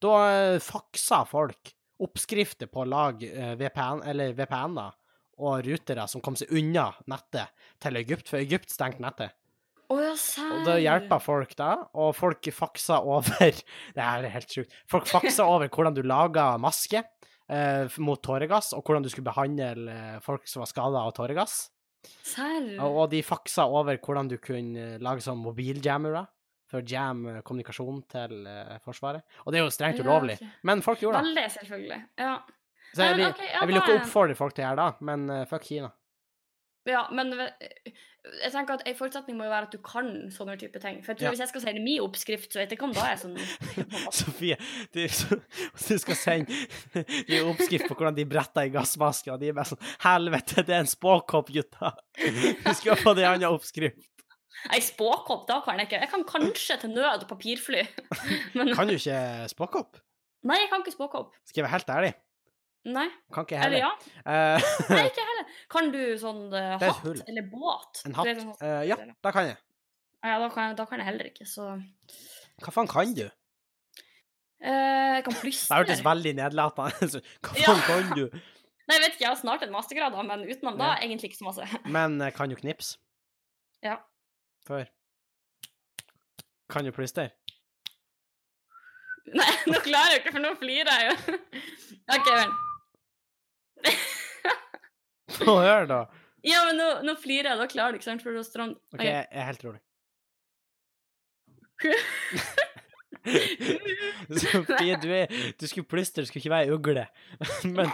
A: Da eh, faksa folk oppskrifter på å lage eh, VPN, eller VPN-er og rutere som kom seg unna nettet til Egypt, for Egypt stengte nettet.
B: Å ja,
A: Og
B: serr.
A: det hjelpa folk da, og folk faksa over Det her er helt sjukt. Folk faksa over hvordan du laga maske eh, mot tåregass, og hvordan du skulle behandle eh, folk som var skada av tåregass.
B: Serr.
A: Og, og de faksa over hvordan du kunne eh, lage sånn mobiljammere for å jamme kommunikasjon til eh, Forsvaret. Og det er jo strengt ulovlig,
B: Ja, ok.
A: men folk gjorde det.
B: Veldig, selvfølgelig. Ja.
A: Så jeg,
B: Nei, men
A: vil-
B: ok, ja,
A: jeg vil jo
B: da
A: ikke
B: er-
A: oppfordre folk til å gjøre det, men eh, fuck Kina.
B: ja, men ve- jeg tenker at en forutsetning må jo være at du kan sånne type ting. For jeg tror
A: Ja.
B: hvis jeg skal si det er min oppskrift, så vet jeg ikke om da er sånn
A: Sofie, du, du skal sende de oppskrift på hvordan de bretter i gassmasker, og de er bare sånn Helvete, det er en spåkopp, gutta! Du skal få det i annen oppskrift.
B: Ei spåkopp, da kan jeg ikke. Jeg kan kanskje til nød papirfly. Men
A: Kan du ikke spåkopp?
B: nei, jeg kan ikke spåkopp.
A: Skal jeg være helt ærlig?
B: Nei.
A: Kan ikke jeg
B: Eller
A: heller.
B: ja.
A: Eh,
B: Nei, ikke heller. Kan du sånn eh,
A: Det er et
B: hatt
A: hull.
B: eller båt?
A: en
B: Du
A: hatt?
B: vet sånn-
A: Eh, ja, da kan jeg.
B: Ja, da kan, jeg, da kan jeg heller ikke, så
A: Hva faen kan du?
B: Eh, Jeg kan
A: Det
B: plystre.
A: hørtes veldig nedlatende ut. Hva
B: Ja.
A: faen kan du?
B: Nei, jeg vet ikke, jeg har snart en mastergrad, da, men utenom da
A: Ja.
B: egentlig ikke så masse.
A: Men eh, kan du knips?
B: Ja.
A: Før? Kan du plystre?
B: Nei, nå klarer jeg ikke, for nå flirer jeg jo. OK, vent.
A: Få høre, da.
B: Ja, men nå, nå flirer jeg, da klarer du ikke sant, for du er stram.
A: OK, jeg er helt rolig. Sofie, du, er, du skulle plystre, du skulle ikke være ei ugle. Men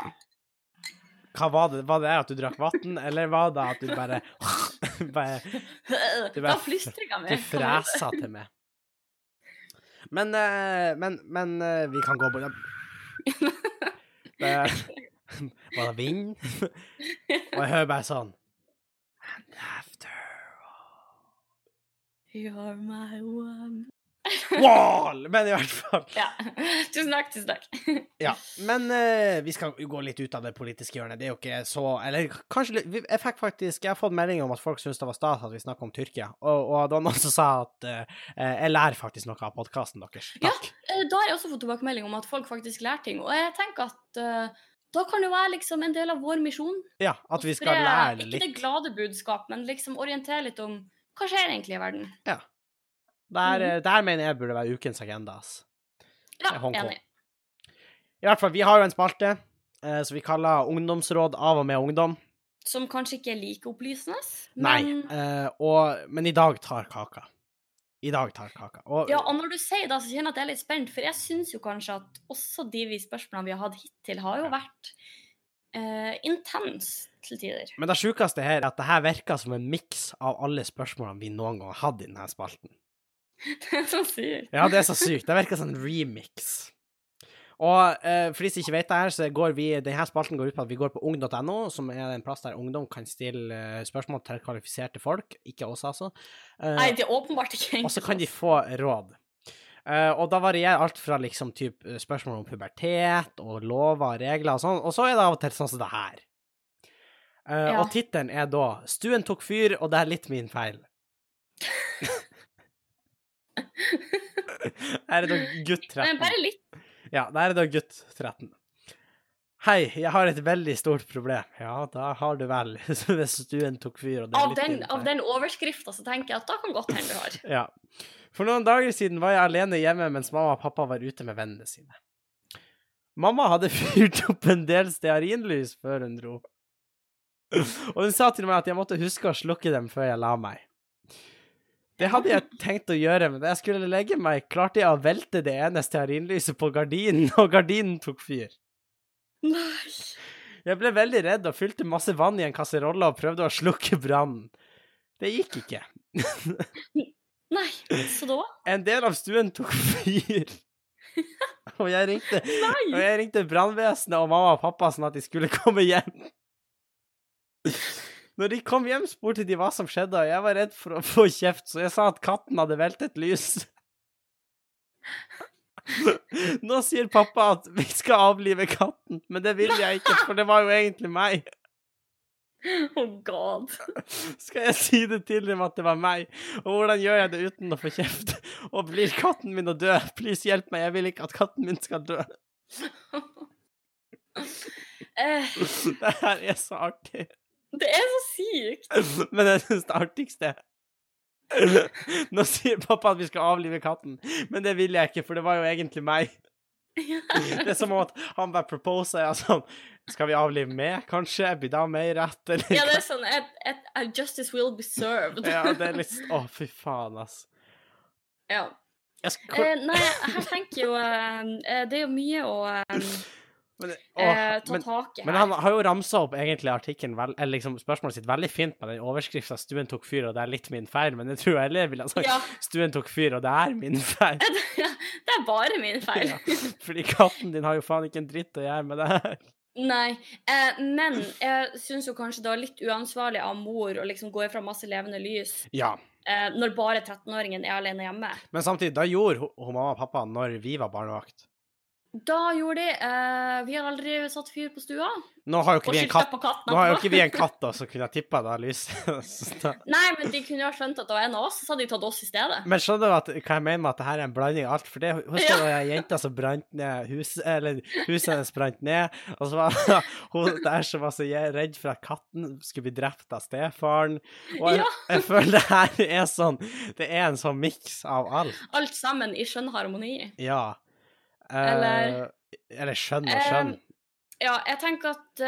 A: hva var det? Var det at du drakk vann, eller var det at du bare, bare
B: Ok.
A: Du bare-
B: Da flystrer jeg
A: Du
B: meg.
A: fresa til meg. Men eh, Men, men eh, vi kan gå på det Var det vind? Og jeg hører bare sånn And after
B: You're my one.
A: Wall! Men i hvert fall
B: Ja. Tusen takk, tusen takk.
A: Ja, men eh, vi skal jo gå litt ut av det politiske hjørnet. Det er jo ikke så Eller k- kanskje litt vi- Jeg fikk faktisk Jeg har fått melding om at folk syns det var stas at vi snakker om Tyrkia, og, og det var noen som sa at eh, eh, Jeg lærer faktisk noe av podkasten deres.
B: Ja.
A: Takk.
B: Eh, Da har jeg også fått tilbakemelding om at folk faktisk lærer ting, og jeg tenker at eh, da kan det være liksom en del av vår misjon.
A: Ja. at
B: å
A: vi skal
B: spre
A: lære det
B: Ikke det
A: litt.
B: glade budskap, men liksom orientere litt om hva skjer egentlig i verden.
A: Der, eh, der mener jeg burde være ukens agenda, ass.
B: Ja,
A: Det er Hongkong.
B: enig.
A: I hvert fall, vi har jo en spalte eh, som vi kaller Ungdomsråd av og med ungdom.
B: Som kanskje ikke er like opplysende,
A: Nei.
B: men
A: eh, og, men i dag tar kaka. I dag tar kaka. Og
B: Ja, og når du sier det, så kjenner jeg at jeg er litt spent, for jeg syns jo kanskje at også de vi spørsmålene vi har hatt hittil, har jo vært eh, intense til tider.
A: Men det sjukeste her er at det her virker som en miks av alle spørsmålene vi noen gang har hatt i denne spalten.
B: Som sier.
A: Ja, det er så sykt. Det virker som en remix. Og eh, for de som ikke vet det her, så går vi Denne spalten går ut på at vi går på ung.no, som er en plass der ungdom kan stille eh, spørsmål til kvalifiserte folk, ikke oss, altså. Eh,
B: Nei, det er åpenbart ikke
A: og så kan de få råd. Eh, og da varierer alt fra liksom typ eh, spørsmål om pubertet og lover og regler og sånn, og så er det av og til sånn som det her. Eh,
B: Ja.
A: Og tittelen er da 'Stuen tok fyr, og det er litt min feil'. her er da gutt 13.
B: Men bare litt.
A: Ja, der er da gutt 13. Hei, jeg har et veldig stort problem. Ja, da har du vel. Hvis stuen tok fyr, og det er
B: Av
A: litt
B: den,
A: din feil.
B: av den overskrifta så tenker jeg at da kan godt hende du har.
A: Ja. For noen dager siden var jeg alene hjemme mens mamma og pappa var ute med vennene sine. Mamma hadde fyrt opp en del stearinlys før hun dro. Og hun sa til meg at jeg måtte huske å slukke dem før jeg la meg. Det hadde jeg tenkt å gjøre, men da jeg skulle legge meg, klarte jeg å velte det ene stearinlyset på gardinen, og gardinen tok fyr.
B: Nei.
A: Jeg ble veldig redd og fylte masse vann i en kasserolle og prøvde å slukke brannen. Det gikk ikke.
B: Nei. Så da?
A: En del av stuen tok fyr. Og jeg ringte, og
B: Nei!
A: jeg ringte brannvesenet og mamma og pappa sånn at de skulle komme hjem. Når de kom hjem, spurte de hva som skjedde, og jeg var redd for å få kjeft, så jeg sa at katten hadde veltet lys. Nå sier pappa at vi skal avlive katten, men det vil jeg ikke, for det var jo egentlig meg.
B: Oh god.
A: Skal jeg si det til dem at det var meg? Og hvordan gjør jeg det uten å få kjeft? Og blir katten min å dø? Please hjelp meg, jeg vil ikke at katten min skal dø.
B: Eh,
A: Det her er så artig.
B: det er så sykt.
A: Men jeg syns det artigste Nå sier pappa at vi skal avlive katten, men det vil jeg ikke, for det var jo egentlig meg. Det er som om at han bare proposer og sånn Skal vi avlive meg, kanskje? Blir da meg rett, eller?
B: Ja, det er sånn et, et, a Justice will be served.
A: Ja, det er litt Å, fy faen, ass.
B: Ja.
A: Jeg skal, hvor,
B: Eh, nei, her tenker jeg jo eh, Det er jo mye å eh,
A: men,
B: eh,
A: å,
B: ta
A: men,
B: tak i her.
A: men han har jo ramsa opp egentlig artikkelen, vel- eller liksom spørsmålet sitt, veldig fint med den overskrifta 'Stuen tok fyr, og det er litt min feil', men jeg tror jeg heller ville ha sagt
B: Ja,
A: 'Stuen tok fyr, og det er min feil'.
B: det er bare min feil.
A: Ja, fordi katten din har jo faen ikke en dritt å gjøre med det her.
B: Nei, eh, men jeg syns jo kanskje det var litt uansvarlig av mor å liksom gå ifra masse levende lys
A: Ja,
B: eh, når bare 13-åringen er alene hjemme.
A: men samtidig, da gjorde hun, hun mamma og pappa når vi var barnevakt.
B: Da gjorde de eh, Vi har aldri satt fyr på stua.
A: Nå har jo ikke
B: Og
A: vi en
B: skylda
A: katt,
B: på katten.
A: nå har jo
B: etterpå.
A: ikke vi en katt da, som kunne ha tippa det av lyset. Så da-
B: Nei, men de kunne jo ha skjønt at det var en av oss, så hadde de tatt oss i stedet.
A: Men skjønner du at, hva jeg mener med at det her er en blanding av alt? For det, husker du den jenta som brant ned huset, eller huset hennes brant ned, og så var det hun der som var så je- redd for at katten skulle bli drept av stefaren. Og jeg,
B: Ja.
A: jeg føler det her er sånn Det er en sånn miks av alt.
B: Alt sammen i skjønn harmoni.
A: Ja. Eh,
B: Eller-
A: Eller skjønn og skjønn.
B: Eh, ja, jeg tenker at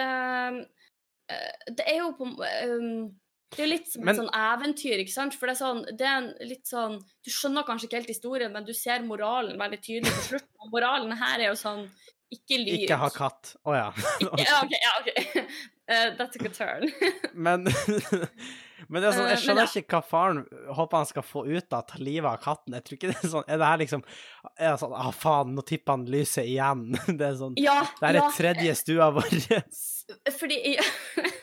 B: eh, eh, Det er jo på eh, Det er jo litt som
A: Men-
B: et sånn eventyr, ikke sant? For det er sånn Det er en litt sånn Du skjønner kanskje ikke helt historien, men du ser moralen veldig tydelig på slutten. Og moralen her er jo sånn Ikke lyv.
A: Ikke ha katt. Å ja.
B: Ja, OK. Ja, ok. Eh, that took a turn.
A: Men, men det er sånn, jeg
B: Eh, men
A: skjønner ikke hva faren håper han skal få ut av å ta livet av katten. Jeg tror ikke det er sånn Er det her liksom Er det sånn Å, faen, nå tipper han lyset igjen. Det er sånn
B: Ja,
A: Det her
B: ja,
A: er tredje stua vår.
B: fordi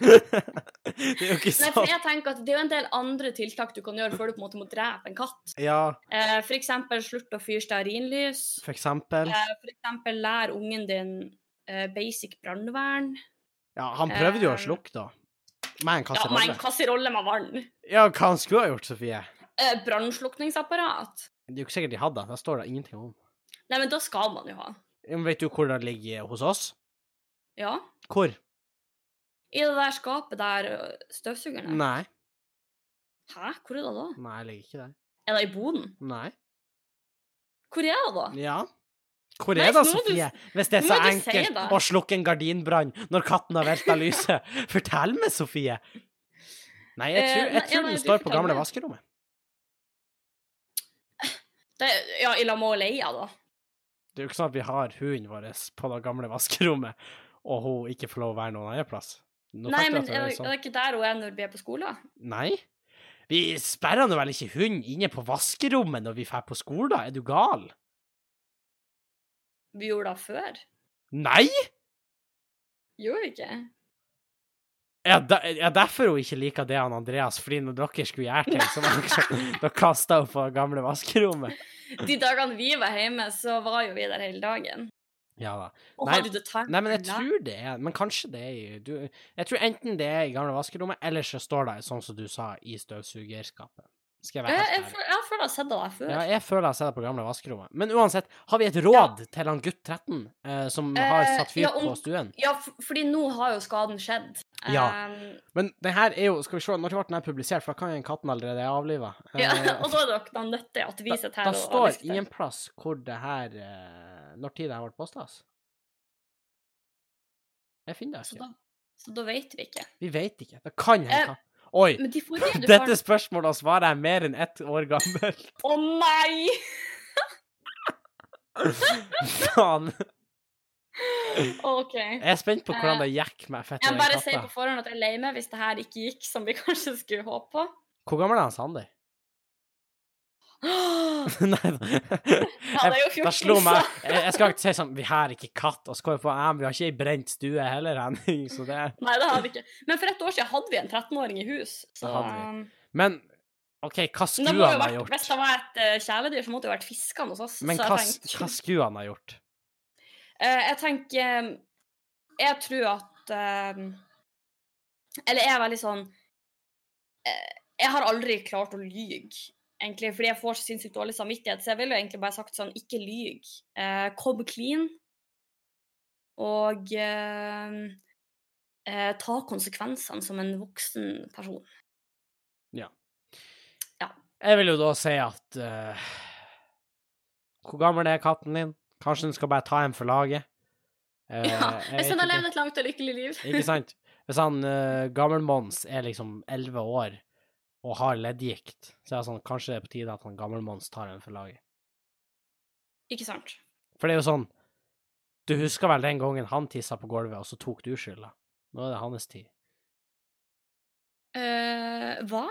A: Det er jo ikke
B: Nei, for
A: sånn.
B: jeg tenker at det er jo en del andre tiltak du kan gjøre før du på en måte må drepe en katt.
A: Ja,
B: Eh, for eksempel slutt å fyre stearinlys.
A: for eksempel.
B: Eh, for eksempel lær ungen din eh, basic brannvern.
A: Ja, han prøvde jo å
B: eh,
A: slukke, da. Med en
B: Ja, med en
A: kasserolle.
B: kasserolle med vann.
A: Ja, hva han skulle ha gjort, Sofie?
B: Eh, Brannslukningsapparat.
A: Det er jo ikke sikkert de hadde det. Det står det ingenting om.
B: Nei, men da skal man jo ha.
A: Ja, Men vet du hvor det ligger hos oss?
B: Ja.
A: Hvor?
B: I det der skapet der ø, støvsugeren er.
A: Nei.
B: Hæ, hvor er det da?
A: Nei, jeg ligger ikke der.
B: Er det i boden?
A: Nei.
B: Hvor er det da?
A: Ja. Hvor
B: Nei,
A: er det,
B: nå må du-
A: Sofie? Hvis det er
B: nå
A: så
B: må du si
A: enkelt
B: det.
A: å slukke en gardinbrann når katten har velta lyset, fortell meg, Sofie! Nei, jeg
B: Eh,
A: tror,
B: nei,
A: jeg
B: ja,
A: tror
B: nei,
A: den
B: du
A: står på
B: forteller
A: gamle
B: meg.
A: vaskerommet.
B: Det, ja, i La Moleia, da.
A: Det er jo ikke sånn at vi har hunden vår på det gamle vaskerommet, og hun ikke får lov å være noen annen plass. Nå
B: Nei,
A: tenkte jeg
B: men
A: at det
B: er
A: var
B: det,
A: sånn.
B: er det ikke der hun er når vi er på skolen?
A: Nei? Vi sperrer nå vel ikke hunden inne på vaskerommet når vi drar på skolen? Er du gal?
B: Vi gjorde det før.
A: Nei!
B: Gjorde vi ikke?
A: Ja, da, ja, derfor hun ikke liker det han Andreas, fordi når dere skulle gjøre ting, så var dere sånn Dere kasta henne på det gamle vaskerommet.
B: De dagene vi var hjemme, så var jo vi der hele dagen.
A: Ja da.
B: Og
A: Nei,
B: hadde det tatt
A: Nei, men jeg tror det er Men kanskje det er i du, Jeg tror enten det er i gamle vaskerommet, eller så står det, sånn som du sa, i støvsugerskapet. Skal jeg
B: Jeg,
A: være
B: jeg,
A: helt ærlig?
B: føl- jeg føler jeg har sett det der før.
A: Ja, jeg føler jeg ser det på gamle vaskerommet. Men uansett, har vi et råd til han gutt 13 eh, som har
B: Eh,
A: satt fyr
B: ja, om-
A: på stuen?
B: Ja, for, fordi nå har jo skaden skjedd.
A: Ja.
B: Ehm,
A: Men den her er jo Skal vi se, når ble den her publisert? For da kan jo katten allerede er avliva.
B: ja,
A: Eh,
B: og da er dere da nødt til at vi sitter her
A: Det
B: og
A: står
B: diskuterer.
A: ingen plass hvor det her eh, Når tid det her ble posta. Jeg finner
B: så,
A: det ikke.
B: da, så da vet vi ikke.
A: Vi veit ikke. Det kan
B: Eh,
A: hende. ka- Oi!
B: Men de forrige du
A: Dette
B: fant
A: spørsmålet og svaret er mer enn ett år gammelt.
B: Å nei!
A: Faen.
B: OK.
A: Jeg er spent på hvordan det gikk med fetter
B: Jeg
A: og
B: Eh, bare
A: den
B: sier på
A: katta.
B: forhånd at jeg er lei meg hvis det her ikke gikk som vi kanskje skulle håpe på.
A: Hvor gammel er han Sander?
B: Ja,
A: Nei
B: det er jo
A: Da
B: 14,
A: slo meg
B: så
A: Jeg jeg skal ikke si sånn Vi har ikke katt, og så kommer jeg på ja, men Vi har ikke ei brent stue heller, Henning, så det er
B: Nei, det har vi ikke. Men for et år siden hadde vi en 13-åring i hus. Så
A: Det hadde vi.
B: um,
A: Men OK, hva
B: men det
A: skulle
B: må jo
A: han ha
B: vært,
A: gjort?
B: Hvis det var et eh, kjæledyr, så måtte det jo vært fiskene hos oss.
A: Men
B: så
A: hva,
B: jeg tenkte,
A: hva skulle han ha gjort?
B: Eh, jeg tenker eh, Jeg tror at eh, Eller jeg er veldig sånn eh, Jeg har aldri klart å lyge, egentlig, fordi jeg får så sinnssykt dårlig samvittighet. Så jeg ville jo egentlig bare sagt sånn Ikke lyg. Eh, kom clean. og eh, eh, ta konsekvensene som en voksen person.
A: Jeg vil jo da si at eh, Hvor gammel er katten din? Kanskje den skal bare ta en for laget? Eh,
B: Ja,
A: vet
B: Jeg skal da
A: ikke.
B: leve et langt og lykkelig liv.
A: Ikke sant? Hvis han uh, Gammel-Mons er liksom 11 år og har leddgikt, så er det sånn, kanskje det er på tide at han Gammel-Mons tar en for laget.
B: Ikke sant?
A: For det er jo sånn Du husker vel den gangen han tissa på gulvet, og så tok du skylda? Nå er det hans tid.
B: Eh, hva?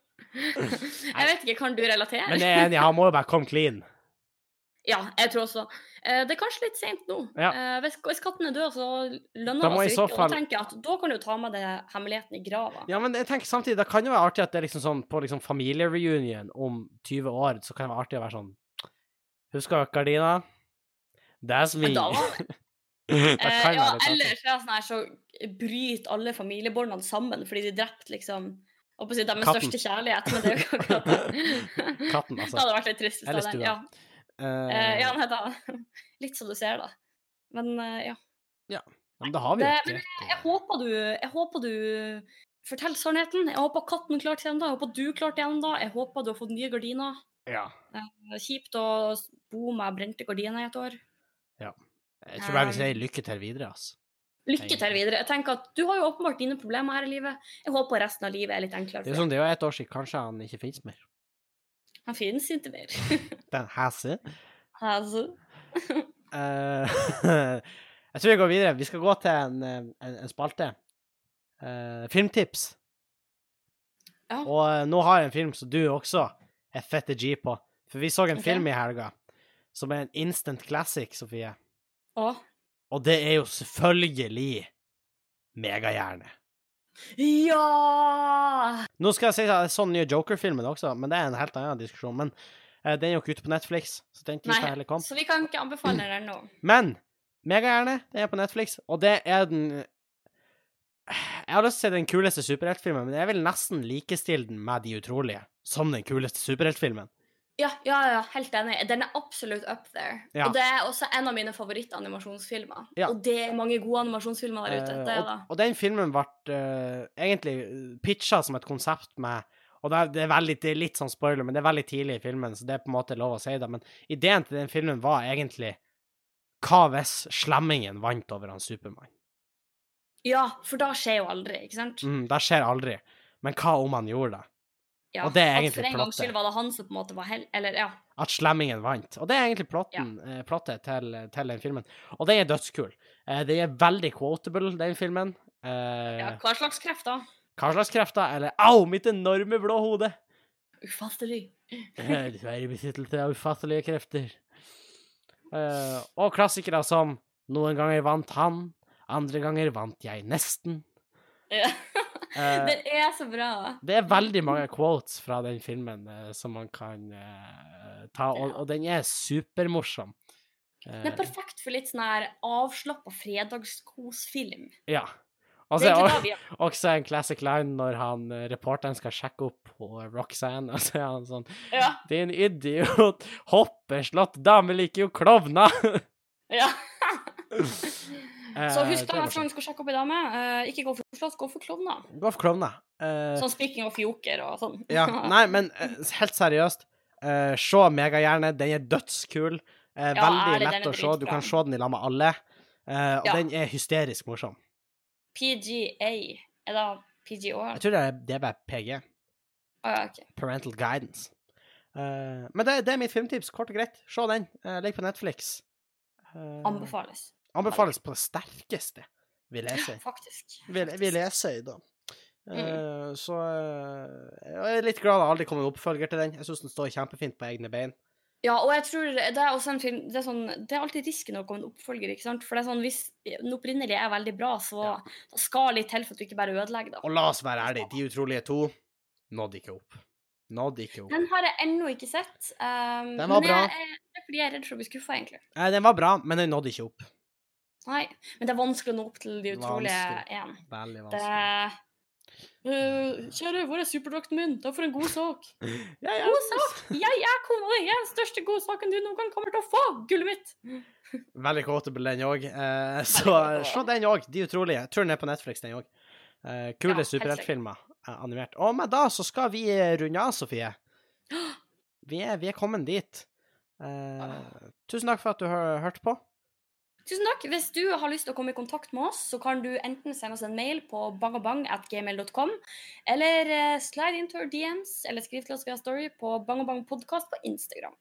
B: jeg vet ikke, kan du relatere?
A: Men jeg er enig, han må jo bare komme clean.
B: Ja, jeg tror også eh, Det er kanskje litt sent nå.
A: Ja.
B: Eh, hvis, hvis katten er død, så
A: Da
B: lønner
A: må
B: det
A: i
B: seg
A: så
B: ikke.
A: fall-
B: Og da tenker jeg at da kan du ta med deg hemmeligheten i grava.
A: Ja, men jeg tenker samtidig, det kan jo være artig at det er liksom sånn på liksom familiereunion om 20 år, så kan det være artig å være sånn Husker dere gardina? That's me.
B: Da var
A: Det
B: Eh,
A: kan
B: ja,
A: være litt
B: eller
A: artig.
B: så, er det sånn her, så bryter alle familiebåndene sammen fordi de drepte liksom jeg håper å si deres
A: Katten.
B: største kjærlighet, men det er jo ikke akkurat det.
A: Katten,
B: Det
A: altså.
B: hadde vært litt trist. hvis
A: Eller
B: det hadde-
A: stua.
B: Ja. Eh,
A: Eh,
B: ja, nei da. Litt som du ser, da. Men eh, ja.
A: men da har vi jo
B: det-
A: et
B: men
A: greit,
B: Jeg håper du, jeg håper du forteller sannheten. Jeg håper katten klarte seg ennå. Jeg håper du klarte deg ennå. Jeg håper du har fått nye gardiner.
A: eh, Ja.
B: Det er kjipt å bo med brente gardiner i et år.
A: Jeg tror
B: Eh.
A: bare vi sier lykke til videre, altså.
B: Lykke til videre. Jeg tenker at Du har jo åpenbart dine problemer her i livet. Jeg håper resten av livet er litt enklere.
A: Det er sånn- jo
B: for deg.
A: sånn, det er jo ett år siden kanskje han ikke finnes mer.
B: Han finnes ikke mer.
A: Den hæse.
B: altså.
A: Eh, jeg tror vi går videre. Vi skal gå til en, eh, en, en spalte. Eh, filmtips.
B: Ja.
A: Og eh, nå har jeg en film som du også er fette G på. For vi så en
B: Ok.
A: film i helga som er en instant classic, Sofie.
B: Å.
A: Og det er jo selvfølgelig Megahjerne.
B: Ja!
A: Nå skal jeg si at jeg så den nye Joker-filmen også, men det er en helt annen diskusjon. Men eh, den er jo ikke ute på Netflix, så den tida
B: Nei.
A: heller kom.
B: Så vi kan ikke anbefale den ennå.
A: Men Megahjerne, den er på Netflix, og det er den Jeg har lyst til å si den kuleste superheltfilmen, men jeg vil nesten likestille den med De utrolige som den kuleste superheltfilmen.
B: Ja, ja, ja, helt enig. Den er absolutt up there.
A: Ja.
B: Og det er også en av mine favorittanimasjonsfilmer.
A: Ja.
B: Og det er mange gode animasjonsfilmer der ute.
A: Eh,
B: Det er
A: og,
B: det.
A: og den filmen ble eh, egentlig pitcha som et konsept med Og det er, det, er veldig, det er litt sånn spoiler, men det er veldig tidlig i filmen, så det er på en måte lov å si det. Men ideen til den filmen var egentlig Hva hvis slemmingen vant over han Supermann?
B: Ja, for da skjer jo aldri, ikke sant?
A: Mm, det skjer aldri. Men hva om han gjorde det?
B: Ja.
A: og det er
B: At
A: egentlig
B: For en gangs
A: plottet.
B: skyld var det han som på en måte var hell... Eller, ja.
A: at slemmingen vant. Og det er egentlig plotten, eh, plottet til, til den filmen. Og den er dødskul. Eh, den er veldig quotable, den filmen. Eh,
B: ja. Hva slags kreft, da?
A: Hva slags krefter? Eller Au, mitt enorme blå hode!
B: Ufattelig.
A: Eh, Du er i besittelse av ufattelige krefter. Eh, og klassikere som Noen ganger vant han, andre ganger vant jeg nesten.
B: Ja.
A: Eh,
B: Den er så bra.
A: Det er veldig mange quotes fra den filmen eh, som man kan eh, ta, og, og den er supermorsom.
B: Den er
A: Eh,
B: perfekt for litt sånn her avslappa fredagskosfilm.
A: ja.
B: Det
A: Altså,
B: er
A: og-
B: egentlig da vi
A: Også en classic line når han, eh, reporteren skal sjekke opp på Roxanne, og så er han sånn
B: Ja.
A: Din idiot! Hoppeslott! Damer liker jo klovner!
B: ja. Så
A: Eh,
B: husk
A: det er
B: da, hvis
A: morsomt.
B: man skal sjekke opp ei dame, eh, ikke gå for slåss, gå for klovner.
A: Gå for klovner. Eh,
B: Sånn speaking of joker og sånn.
A: ja. Nei, men eh, helt seriøst, eh, se Megahjerne. Den er dødskul. Eh,
B: Ja,
A: veldig
B: ærlig, den
A: lett å
B: er
A: se. Du
B: dritbra.
A: kan se den i lag med alle. Eh, og
B: Ja.
A: den er hysterisk morsom.
B: PGA. Er det PGO?
A: Jeg tror det er, det er bare PG.
B: Å Ah, ja, OK.
A: Parental Guidance. Eh, men det, det er mitt filmtips, kort og greit. Se den. Uh, Legg på Netflix. Eh,
B: Anbefales.
A: Anbefales på det sterkeste, vil jeg si.
B: Faktisk.
A: Vil, vil jeg si, da. Eh,
B: Mm.
A: Så eh, Jeg er litt glad det aldri kom en oppfølger til den. Jeg syns den står kjempefint på egne bein.
B: Ja, og jeg tror det er også en film Det er, sånn, det er alltid risken å komme en oppfølger, ikke sant? For det er sånn, hvis den opprinnelige er veldig bra, så
A: Ja.
B: da skal litt til for at du ikke bare ødelegger det.
A: Og la oss være ærlige, De utrolige to nådde ikke opp. Nådde ikke opp.
B: Den har jeg ennå ikke sett. Um,
A: Den var
B: men
A: bra.
B: Jeg, jeg, det er fordi jeg er redd for å bli skuffa, egentlig.
A: Eh, Den var bra, men den nådde ikke opp.
B: Nei. Men det er vanskelig å nå opp til de utrolige
A: Vanskelig.
B: én.
A: Veldig
B: Det Eh,
A: vanskelig.
B: Øh, Kjære, hvor er superdrakten min? Da for en god sak.
A: Ja, ja.
B: God sak! Jeg er konge! Oi, jeg er den største godsaken du noen gang kommer til å få! Gullet mitt!
A: Veldig kåte på den òg. Eh, så
B: kåte på den.
A: se den òg. De utrolige. Jeg tror den er på Netflix, den òg. Eh,
B: Ja,
A: kule
B: helt
A: superheltfilmer eh, animert. Og med da så skal vi runde av, Sofie. Vi er, vi er kommet dit. Eh,
B: Ah.
A: tusen takk for at du hø- hørte på.
B: Tusen takk. Hvis du har lyst til å komme i kontakt med oss, så kan du enten sende oss en mail på bangabang.gmail.com, eller eh, slide into our DMs, eller skriv til oss via Story på bangabangpodkast på Instagram.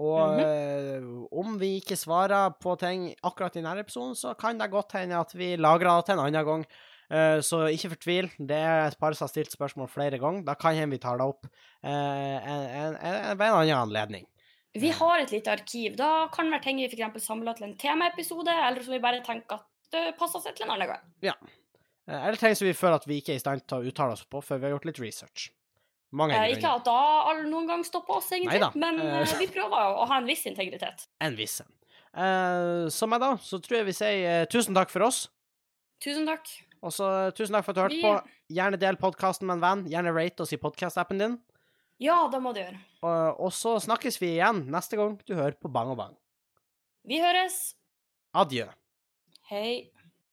A: Og
B: Mhm.
A: eh, om vi ikke svarer på ting akkurat i denne episoden, så kan det godt hende at vi lagrer det til en annen gang. Eh, så ikke fortvil. Det er et par som har stilt spørsmål flere ganger. Da kan hende vi tar det opp eh, en, en, en, ved en annen anledning.
B: Vi har et lite arkiv. Da kan det være ting vi f.eks. samler til en temaepisode, eller som vi bare tenker at det passer seg til en annen gang.
A: Eh, Eller ting som vi føler at vi ikke er i stand til å uttale oss på før vi har gjort litt research. Mange
B: Eh,
A: grunner.
B: Ikke at da alle noen gang stopper oss, egentlig,
A: Neida.
B: men
A: Eh.
B: eh, vi prøver å ha en viss integritet.
A: En viss en. Eh, som jeg da, så tror jeg vi sier eh, tusen takk for oss.
B: Tusen takk.
A: Og så eh, tusen takk for at du hørte
B: Vi-
A: på. Gjerne del podkasten med en venn. Gjerne rate oss i podkast-appen din.
B: Ja, det må du gjøre.
A: Og, og så snakkes vi igjen neste gang du hører på Bang og Bang.
B: Vi høres.
A: Adjø.
B: Hei.